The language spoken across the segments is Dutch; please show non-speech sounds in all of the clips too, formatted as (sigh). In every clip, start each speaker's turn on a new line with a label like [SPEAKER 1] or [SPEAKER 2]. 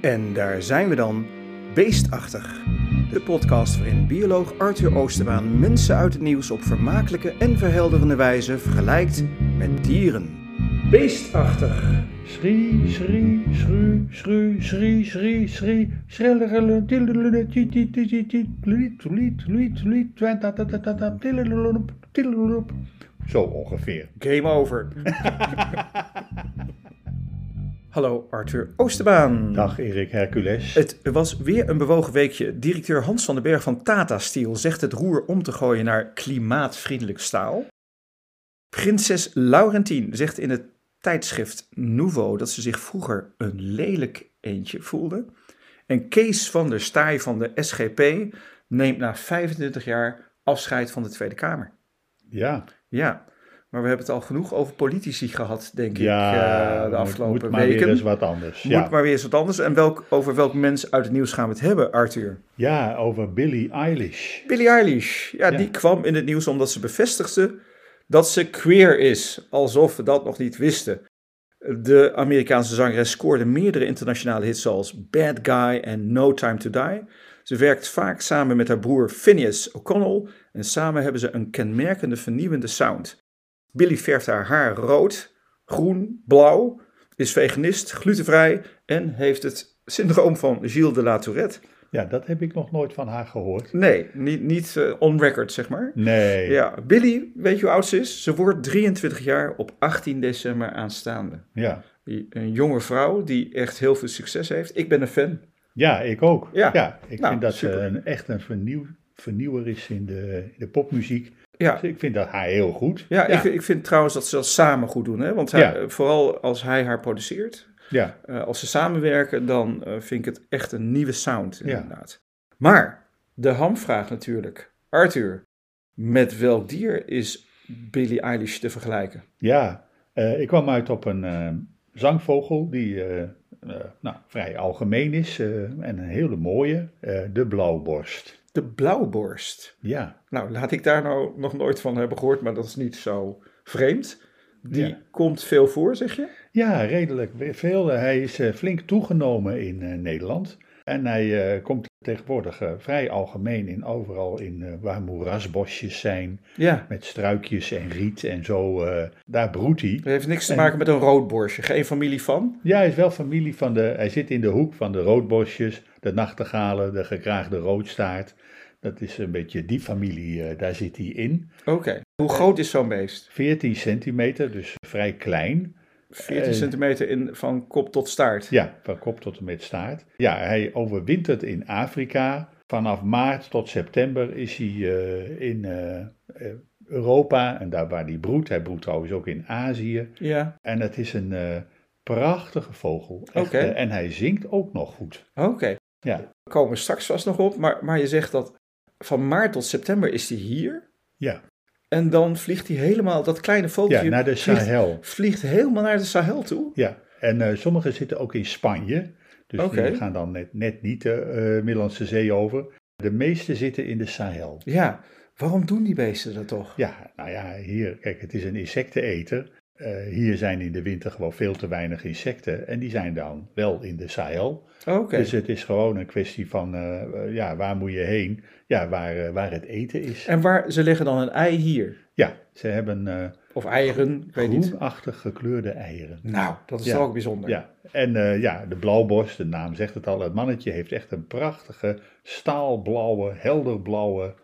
[SPEAKER 1] En daar zijn we dan, Beestachtig. De podcast waarin bioloog Arthur Oosterbaan mensen uit het nieuws op vermakelijke en verhelderende wijze vergelijkt met dieren. Beestachtig.
[SPEAKER 2] Schrie, schrie, schru, schru, schrie, schrie, schrie, schrillerele, tillerele, tiet, tiet, tiet, tiet, tiet, liet, liet, liet, liet, twa, ta, ta, ta, ta, ta, tillerele, tillerele. Zo ongeveer.
[SPEAKER 1] Game
[SPEAKER 2] (laughs)
[SPEAKER 1] over. Hallo Arthur Oosterbaan.
[SPEAKER 2] Dag Erik Hercules.
[SPEAKER 1] Het was weer een bewogen weekje. Directeur Hans van den Berg van Tata Steel zegt het roer om te gooien naar klimaatvriendelijk staal. Prinses Laurentien zegt in het tijdschrift Nouveau dat ze zich vroeger een lelijk eentje voelde. En Kees van der Staaij van de SGP neemt na 25 jaar afscheid van de Tweede Kamer.
[SPEAKER 2] Ja,
[SPEAKER 1] Ja, maar we hebben het al genoeg over politici gehad, denk ik, eh,
[SPEAKER 2] ja,
[SPEAKER 1] de afgelopen
[SPEAKER 2] moet, moet maar
[SPEAKER 1] weken.
[SPEAKER 2] weer eens wat anders.
[SPEAKER 1] Moet
[SPEAKER 2] Ja.
[SPEAKER 1] maar weer eens wat anders. En welk, over welk mens uit het nieuws gaan we het hebben, Arthur?
[SPEAKER 2] ja, over Billie Eilish.
[SPEAKER 1] Billie Eilish. Ja,
[SPEAKER 2] Ja.
[SPEAKER 1] die kwam in het nieuws omdat ze bevestigde dat ze queer is. Alsof we dat nog niet wisten. De Amerikaanse zangeres scoorde meerdere internationale hits zoals Bad Guy en No Time to Die. Ze werkt vaak samen met haar broer Phineas O'Connell en samen hebben ze een kenmerkende vernieuwende sound. Billie verft haar haar rood, groen, blauw, is veganist, glutenvrij en heeft het syndroom van Gilles de la Tourette.
[SPEAKER 2] Ja, dat heb ik nog nooit van haar gehoord.
[SPEAKER 1] Nee, niet, niet eh, on record, zeg maar.
[SPEAKER 2] Nee.
[SPEAKER 1] Ja, Billy, weet je hoe oud ze is? Ze wordt 23 jaar op 18 december aanstaande.
[SPEAKER 2] Ja.
[SPEAKER 1] Die- Een jonge vrouw die echt heel veel succes heeft. Ik ben een fan.
[SPEAKER 2] Ja, ik ook.
[SPEAKER 1] Ja.
[SPEAKER 2] Ja, ik
[SPEAKER 1] Nou,
[SPEAKER 2] vind dat ze
[SPEAKER 1] super.
[SPEAKER 2] een, echt een vernieuw, vernieuwer is in de, in de popmuziek.
[SPEAKER 1] Ja,
[SPEAKER 2] Dus ik vind dat haar heel goed.
[SPEAKER 1] ja,
[SPEAKER 2] ja.
[SPEAKER 1] Ik, ik vind trouwens dat ze dat samen goed doen. Hè? Want hij-
[SPEAKER 2] Ja.
[SPEAKER 1] eh, vooral als hij haar produceert,
[SPEAKER 2] ja.
[SPEAKER 1] eh, als ze samenwerken, dan eh, vind ik het echt een nieuwe sound
[SPEAKER 2] Ja.
[SPEAKER 1] inderdaad. Maar de hamvraag natuurlijk. Arthur, met welk dier is Billie Eilish te vergelijken?
[SPEAKER 2] Ja, eh, ik kwam uit op een eh, zangvogel die eh, eh, nou, vrij algemeen is eh, en een hele mooie, eh, de blauwborst.
[SPEAKER 1] De blauwborst.
[SPEAKER 2] Ja,
[SPEAKER 1] Nou, laat ik daar nou nog nooit van hebben gehoord, maar dat is niet zo vreemd. Die
[SPEAKER 2] Ja.
[SPEAKER 1] komt veel voor, zeg je?
[SPEAKER 2] ja redelijk veel. Hij is eh, flink toegenomen in eh, Nederland. En hij eh, komt tegenwoordig eh, vrij algemeen in overal in eh, waar moerasbosjes zijn,
[SPEAKER 1] Ja.
[SPEAKER 2] met struikjes en riet en zo. eh, daar broedt hij.
[SPEAKER 1] Het heeft niks te
[SPEAKER 2] En-
[SPEAKER 1] maken met een roodborstje. Geen familie van.
[SPEAKER 2] Ja, hij is wel familie van de. Hij zit in de hoek van de roodbosjes, de nachtegalen, de gekraagde roodstaart. Dat is een beetje die familie, eh, daar zit hij in.
[SPEAKER 1] Oké. Hoe groot is zo'n beest?
[SPEAKER 2] 14 centimeter, dus vrij klein.
[SPEAKER 1] 14
[SPEAKER 2] Eh.
[SPEAKER 1] centimeter in, van kop tot staart.
[SPEAKER 2] Ja, van kop tot en met staart. Ja, hij overwintert in Afrika. Vanaf maart tot september is hij eh, in eh, eh, Europa en daar waar hij broedt. Hij broedt trouwens ook in Azië.
[SPEAKER 1] Ja.
[SPEAKER 2] En het is een eh, prachtige vogel. Echt,
[SPEAKER 1] Oké.
[SPEAKER 2] eh, en hij zingt ook nog goed.
[SPEAKER 1] Oké.
[SPEAKER 2] Ja,
[SPEAKER 1] We komen straks vast nog op, maar, maar je zegt dat van maart tot september is die hier.
[SPEAKER 2] ja.
[SPEAKER 1] En dan vliegt hij helemaal, dat kleine vogeltje
[SPEAKER 2] ja naar de
[SPEAKER 1] vliegt-
[SPEAKER 2] Sahel.
[SPEAKER 1] vliegt helemaal naar de Sahel toe.
[SPEAKER 2] Ja, en eh, sommigen zitten ook in Spanje. Dus
[SPEAKER 1] Oké.
[SPEAKER 2] die gaan dan net, net niet de eh, Middellandse Zee over. De meeste zitten in de Sahel.
[SPEAKER 1] Ja. Waarom doen die beesten dat toch?
[SPEAKER 2] Ja, nou ja, hier, kijk, het is een insecteneter. Eh, hier zijn in de winter gewoon veel te weinig insecten. En die zijn dan wel in de Sahel.
[SPEAKER 1] Oké.
[SPEAKER 2] Dus het is gewoon een kwestie van, eh, eh, ja, waar moet je heen? Ja, waar, eh, waar het eten is.
[SPEAKER 1] En waar, ze leggen dan een ei hier.
[SPEAKER 2] Ja, ze hebben eh
[SPEAKER 1] Of eieren, ik weet niet.
[SPEAKER 2] groenachtig gekleurde eieren.
[SPEAKER 1] Nou, dat is
[SPEAKER 2] Ja.
[SPEAKER 1] toch ook bijzonder.
[SPEAKER 2] Ja, en eh, ja, de blauwborst, de naam zegt het al. Het mannetje heeft echt een prachtige staalblauwe, helderblauwe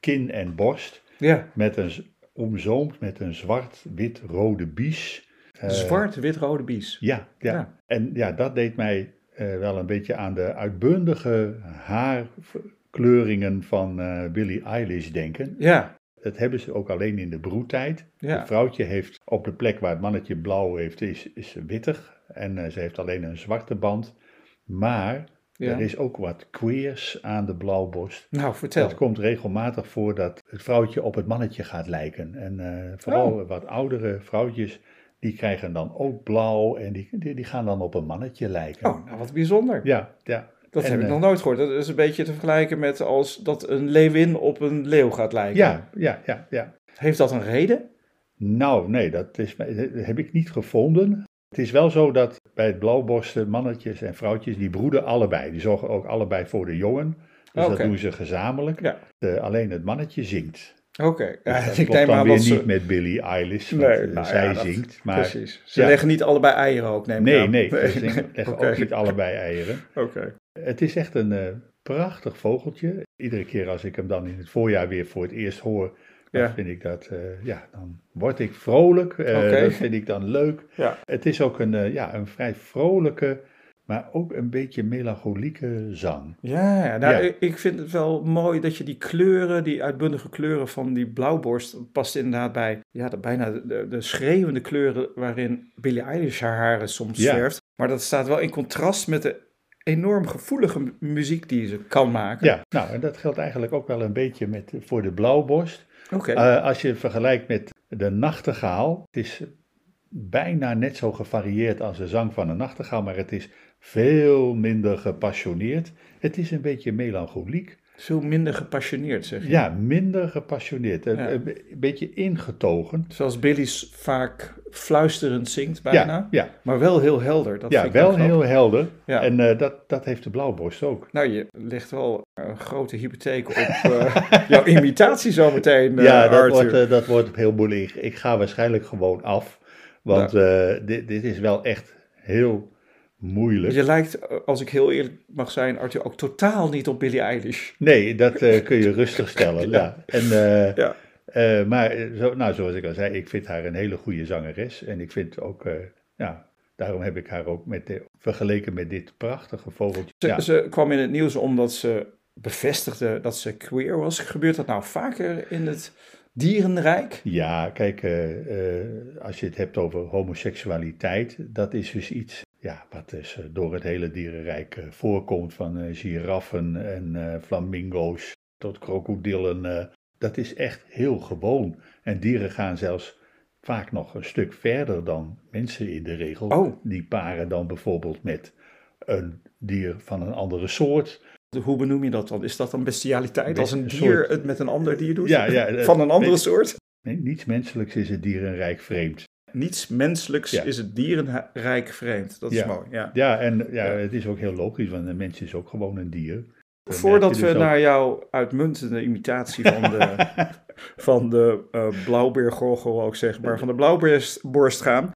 [SPEAKER 2] kin en borst.
[SPEAKER 1] Ja.
[SPEAKER 2] Met een, z- omzoomd met een zwart-wit-rode bies. Eh,
[SPEAKER 1] Zwart, wit, rode bies.
[SPEAKER 2] Ja, ja.
[SPEAKER 1] Ja.
[SPEAKER 2] En ja, dat deed mij eh, wel een beetje aan de uitbundige haarkleuringen van eh Billie Eilish denken.
[SPEAKER 1] Ja.
[SPEAKER 2] Dat hebben ze ook alleen in de broedtijd.
[SPEAKER 1] Ja.
[SPEAKER 2] Het vrouwtje heeft op de plek waar het mannetje blauw heeft, is, is ze wittig. En eh, ze heeft alleen een zwarte band. Maar
[SPEAKER 1] ja.
[SPEAKER 2] er is ook wat queers aan de blauwborst.
[SPEAKER 1] Nou, vertel.
[SPEAKER 2] Het komt regelmatig voor dat het vrouwtje op het mannetje gaat lijken. En eh, vooral
[SPEAKER 1] Oh.
[SPEAKER 2] wat oudere vrouwtjes, die krijgen dan ook blauw. En die, die, die gaan dan op een mannetje lijken.
[SPEAKER 1] Oh, nou wat bijzonder.
[SPEAKER 2] Ja, ja.
[SPEAKER 1] Dat
[SPEAKER 2] En,
[SPEAKER 1] heb ik
[SPEAKER 2] eh,
[SPEAKER 1] nog nooit gehoord. Dat is een beetje te vergelijken met als dat een leeuwin op een leeuw gaat lijken.
[SPEAKER 2] ja, ja, ja, ja.
[SPEAKER 1] Heeft dat een reden?
[SPEAKER 2] Nou, nee, dat, is, dat heb ik niet gevonden. Het is wel zo dat bij het blauwborsten mannetjes en vrouwtjes, die broeden allebei. Die zorgen ook allebei voor de jongen. Dus
[SPEAKER 1] Ah, Oké.
[SPEAKER 2] dat doen ze gezamenlijk.
[SPEAKER 1] Ja.
[SPEAKER 2] Eh, alleen het mannetje zingt.
[SPEAKER 1] Oké,
[SPEAKER 2] Dus
[SPEAKER 1] Ja,
[SPEAKER 2] dat
[SPEAKER 1] ik
[SPEAKER 2] klopt
[SPEAKER 1] neem
[SPEAKER 2] dan
[SPEAKER 1] aan
[SPEAKER 2] weer
[SPEAKER 1] dat ze...
[SPEAKER 2] niet met Billie Eilish, want
[SPEAKER 1] Nee,
[SPEAKER 2] eh,
[SPEAKER 1] nou
[SPEAKER 2] zij
[SPEAKER 1] ja, dat-
[SPEAKER 2] zingt. Maar
[SPEAKER 1] Precies. Ze
[SPEAKER 2] Ja.
[SPEAKER 1] leggen niet allebei eieren ook, neem ik
[SPEAKER 2] nee,
[SPEAKER 1] aan.
[SPEAKER 2] nee, ze zingen- leggen
[SPEAKER 1] Oké.
[SPEAKER 2] ook niet allebei eieren.
[SPEAKER 1] (laughs) Oké.
[SPEAKER 2] Het is echt een eh, prachtig vogeltje. Iedere keer als ik hem dan in het voorjaar weer voor het eerst hoor, dan
[SPEAKER 1] Ja.
[SPEAKER 2] vind ik dat, eh, ja, dan word ik vrolijk. Eh,
[SPEAKER 1] Oké.
[SPEAKER 2] Dat vind ik dan leuk.
[SPEAKER 1] (laughs) Ja.
[SPEAKER 2] Het is ook een, eh, ja, een vrij vrolijke, maar ook een beetje melancholieke zang.
[SPEAKER 1] Ja, ja, nou,
[SPEAKER 2] Ja.
[SPEAKER 1] ik- ik vind het wel mooi dat je die kleuren, die uitbundige kleuren van die blauwborst, past inderdaad bij ja, de, bijna de, de schreeuwende kleuren waarin Billie Eilish haar haren soms
[SPEAKER 2] Ja.
[SPEAKER 1] zwerft. Maar dat staat wel in contrast met de enorm gevoelige mu- muziek die ze kan maken.
[SPEAKER 2] Ja, nou, en dat geldt eigenlijk ook wel een beetje met, voor de blauwborst.
[SPEAKER 1] Oké,
[SPEAKER 2] Eh, als je het vergelijkt met de nachtegaal, het is bijna net zo gevarieerd als de zang van een nachtegaal, maar het is veel minder gepassioneerd. Het is een beetje melancholiek.
[SPEAKER 1] veel minder gepassioneerd zeg je.
[SPEAKER 2] Ja, minder gepassioneerd. Een,
[SPEAKER 1] Ja.
[SPEAKER 2] een be- een beetje ingetogen.
[SPEAKER 1] Zoals Billie s- vaak fluisterend zingt bijna,
[SPEAKER 2] Ja, ja,
[SPEAKER 1] maar wel heel helder. Dat
[SPEAKER 2] ja
[SPEAKER 1] vind ik dan
[SPEAKER 2] wel
[SPEAKER 1] knap.
[SPEAKER 2] heel helder.
[SPEAKER 1] Ja.
[SPEAKER 2] En eh, dat, dat heeft de blauwborst ook.
[SPEAKER 1] Nou, je legt wel een grote hypotheek op eh, (laughs) jouw imitatie zometeen, eh
[SPEAKER 2] ja, dat
[SPEAKER 1] Arthur.
[SPEAKER 2] wordt, eh, dat wordt heel moeilijk. Ik ga waarschijnlijk gewoon af. Want eh, dit, dit is wel echt heel moeilijk.
[SPEAKER 1] Je lijkt, als ik heel eerlijk mag zijn, Arthur, ook totaal niet op Billie Eilish.
[SPEAKER 2] Nee, dat eh, kun
[SPEAKER 1] (laughs)
[SPEAKER 2] je rustig stellen. ja. En, eh,
[SPEAKER 1] Ja.
[SPEAKER 2] eh, maar eh, zo, nou, zoals ik al zei, ik vind haar een hele goede zangeres. En ik vind ook, eh, ja, daarom heb ik haar ook met de- vergeleken met dit prachtige vogeltje.
[SPEAKER 1] Ze,
[SPEAKER 2] Ja.
[SPEAKER 1] ze kwam in het nieuws omdat ze bevestigde dat ze queer was. Gebeurt dat nou vaker in het dierenrijk?
[SPEAKER 2] Ja, kijk, eh, eh, als je het hebt over homoseksualiteit, dat is dus iets ja, wat dus eh, door het hele dierenrijk eh, voorkomt, van eh, giraffen en eh, flamingo's tot krokodillen. eh, dat is echt heel gewoon. En dieren gaan zelfs vaak nog een stuk verder dan mensen in de regel.
[SPEAKER 1] Oh.
[SPEAKER 2] Die paren dan bijvoorbeeld met een dier van een andere soort.
[SPEAKER 1] Hoe benoem je dat dan? Is dat dan bestialiteit?
[SPEAKER 2] Be-
[SPEAKER 1] Als een
[SPEAKER 2] een
[SPEAKER 1] dier
[SPEAKER 2] soort-
[SPEAKER 1] het met een ander dier doet?
[SPEAKER 2] Ja, ja, eh,
[SPEAKER 1] Van een andere
[SPEAKER 2] nee.
[SPEAKER 1] soort?
[SPEAKER 2] Nee, niets menselijks is het dierenrijk vreemd.
[SPEAKER 1] Niets menselijks
[SPEAKER 2] Ja.
[SPEAKER 1] is het dierenrijk vreemd. Dat is
[SPEAKER 2] Ja.
[SPEAKER 1] mooi, ja.
[SPEAKER 2] Ja, en ja,
[SPEAKER 1] Ja.
[SPEAKER 2] het is ook heel logisch, want een mens is ook gewoon een dier. Dan
[SPEAKER 1] Voordat
[SPEAKER 2] merk
[SPEAKER 1] we
[SPEAKER 2] je dus ook-
[SPEAKER 1] naar jouw uitmuntende imitatie van de,
[SPEAKER 2] (laughs)
[SPEAKER 1] van de eh blauwbeergorgel ook zeg maar, van de blauwborst gaan,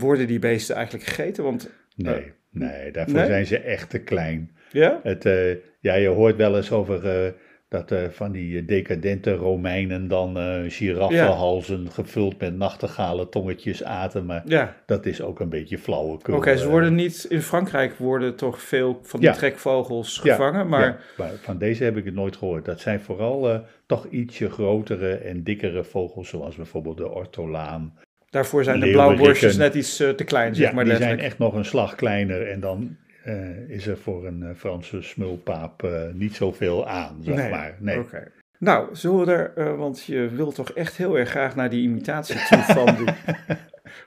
[SPEAKER 1] worden die beesten eigenlijk gegeten? Want,
[SPEAKER 2] Nee, nee, daarvoor
[SPEAKER 1] Nee?
[SPEAKER 2] zijn ze echt te klein.
[SPEAKER 1] ja?
[SPEAKER 2] Het, eh, ja, je hoort wel eens over eh, dat eh, van die decadente Romeinen dan eh giraffenhalzen gevuld met nachtegalen tongetjes aten, maar
[SPEAKER 1] Ja,
[SPEAKER 2] dat is ook een beetje flauwekul.
[SPEAKER 1] oké, ze
[SPEAKER 2] eh.
[SPEAKER 1] worden niet, in Frankrijk worden toch veel van die
[SPEAKER 2] Ja.
[SPEAKER 1] trekvogels
[SPEAKER 2] Ja,
[SPEAKER 1] gevangen,
[SPEAKER 2] Ja,
[SPEAKER 1] maar
[SPEAKER 2] maar van deze heb ik het nooit gehoord. Dat zijn vooral eh, toch ietsje grotere en dikkere vogels, zoals bijvoorbeeld de ortolaan
[SPEAKER 1] daarvoor zijn de
[SPEAKER 2] Leeuweriken.
[SPEAKER 1] blauwborstjes net iets eh, te klein, zeg
[SPEAKER 2] ja,
[SPEAKER 1] maar
[SPEAKER 2] die
[SPEAKER 1] letterlijk.
[SPEAKER 2] zijn echt nog een slag kleiner en dan eh, is er voor een eh, Franse smulpaap eh, niet zoveel aan, zeg maar. Nee.
[SPEAKER 1] Oké. Nou, zullen we er, eh, want je wilt toch echt heel erg graag naar die imitatie toe van,
[SPEAKER 2] (laughs)
[SPEAKER 1] die,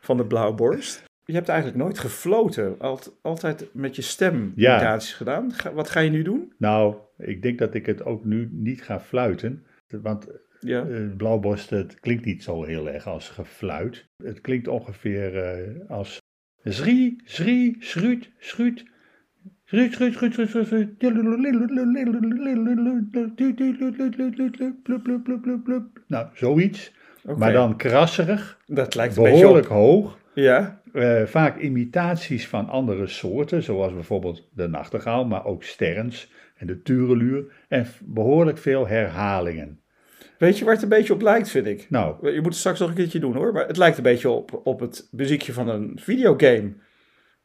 [SPEAKER 1] van de blauwborst. Je hebt eigenlijk nooit gefloten, alt- altijd met je stem
[SPEAKER 2] Ja.
[SPEAKER 1] imitaties gedaan. Ga- wat ga je nu doen?
[SPEAKER 2] Nou, ik denk dat ik het ook nu niet ga fluiten, want
[SPEAKER 1] Ja.
[SPEAKER 2] eh, blauwborst, het klinkt niet zo heel erg als gefluit. Het klinkt ongeveer eh, als zrie, zrie, schruut, schruut. Schruut, schruut, schruut, schruut, schruut, schruut. Nou, zoiets.
[SPEAKER 1] Oké.
[SPEAKER 2] Maar dan krasserig.
[SPEAKER 1] Dat lijkt een beetje
[SPEAKER 2] behoorlijk
[SPEAKER 1] op.
[SPEAKER 2] hoog.
[SPEAKER 1] Ja,
[SPEAKER 2] Eh, vaak imitaties van andere soorten, zoals bijvoorbeeld de nachtegaal, maar ook sterns en de tureluur. En f- behoorlijk veel herhalingen.
[SPEAKER 1] weet je waar het een beetje op lijkt, vind ik?
[SPEAKER 2] Nou,
[SPEAKER 1] Je moet het straks nog een keertje doen hoor, maar het lijkt een beetje op, op het muziekje van een videogame.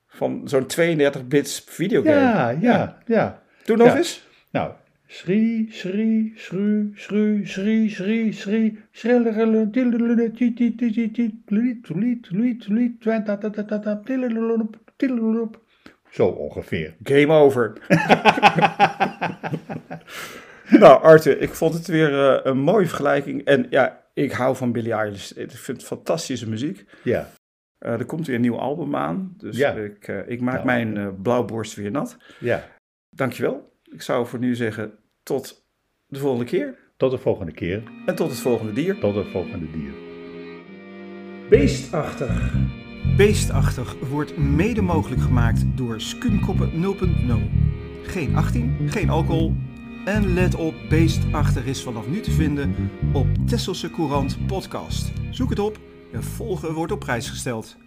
[SPEAKER 1] Van zo'n 32-bits videogame.
[SPEAKER 2] ja, ja, ja.
[SPEAKER 1] Doe nog
[SPEAKER 2] Ja.
[SPEAKER 1] eens.
[SPEAKER 2] Nou, Schrie, schrie, schru, schru, schrie, schrie, schrie, schrilleren, tillerelen, tiet, tiet, tiet, tiet, tiet, liet, liet, liet, liet, twenta, ta, ta, ta, ta, tillerelen, tillerelen. Zo ongeveer.
[SPEAKER 1] Game over. (laughs) nou, Arthur, ik vond het weer eh, een mooie vergelijking. En ja, ik hou van Billie Eilish. Ik vind het fantastische muziek.
[SPEAKER 2] Ja,
[SPEAKER 1] Eh, er komt weer een nieuw album aan. Dus
[SPEAKER 2] Ja.
[SPEAKER 1] ik, eh, ik maak
[SPEAKER 2] Nou.
[SPEAKER 1] mijn eh, blauwborst weer nat.
[SPEAKER 2] ja.
[SPEAKER 1] Dankjewel. Ik zou voor nu zeggen tot de volgende keer.
[SPEAKER 2] Tot de volgende keer.
[SPEAKER 1] En tot het volgende dier.
[SPEAKER 2] Tot de volgende dier.
[SPEAKER 1] Beestachtig. Beestachtig wordt mede mogelijk gemaakt door Skumkoppen 0.0. Geen 18, geen alcohol. En let op, Beestachtig is vanaf nu te vinden op Tesselse Courant Podcast. Zoek het op en volgen wordt op prijs gesteld.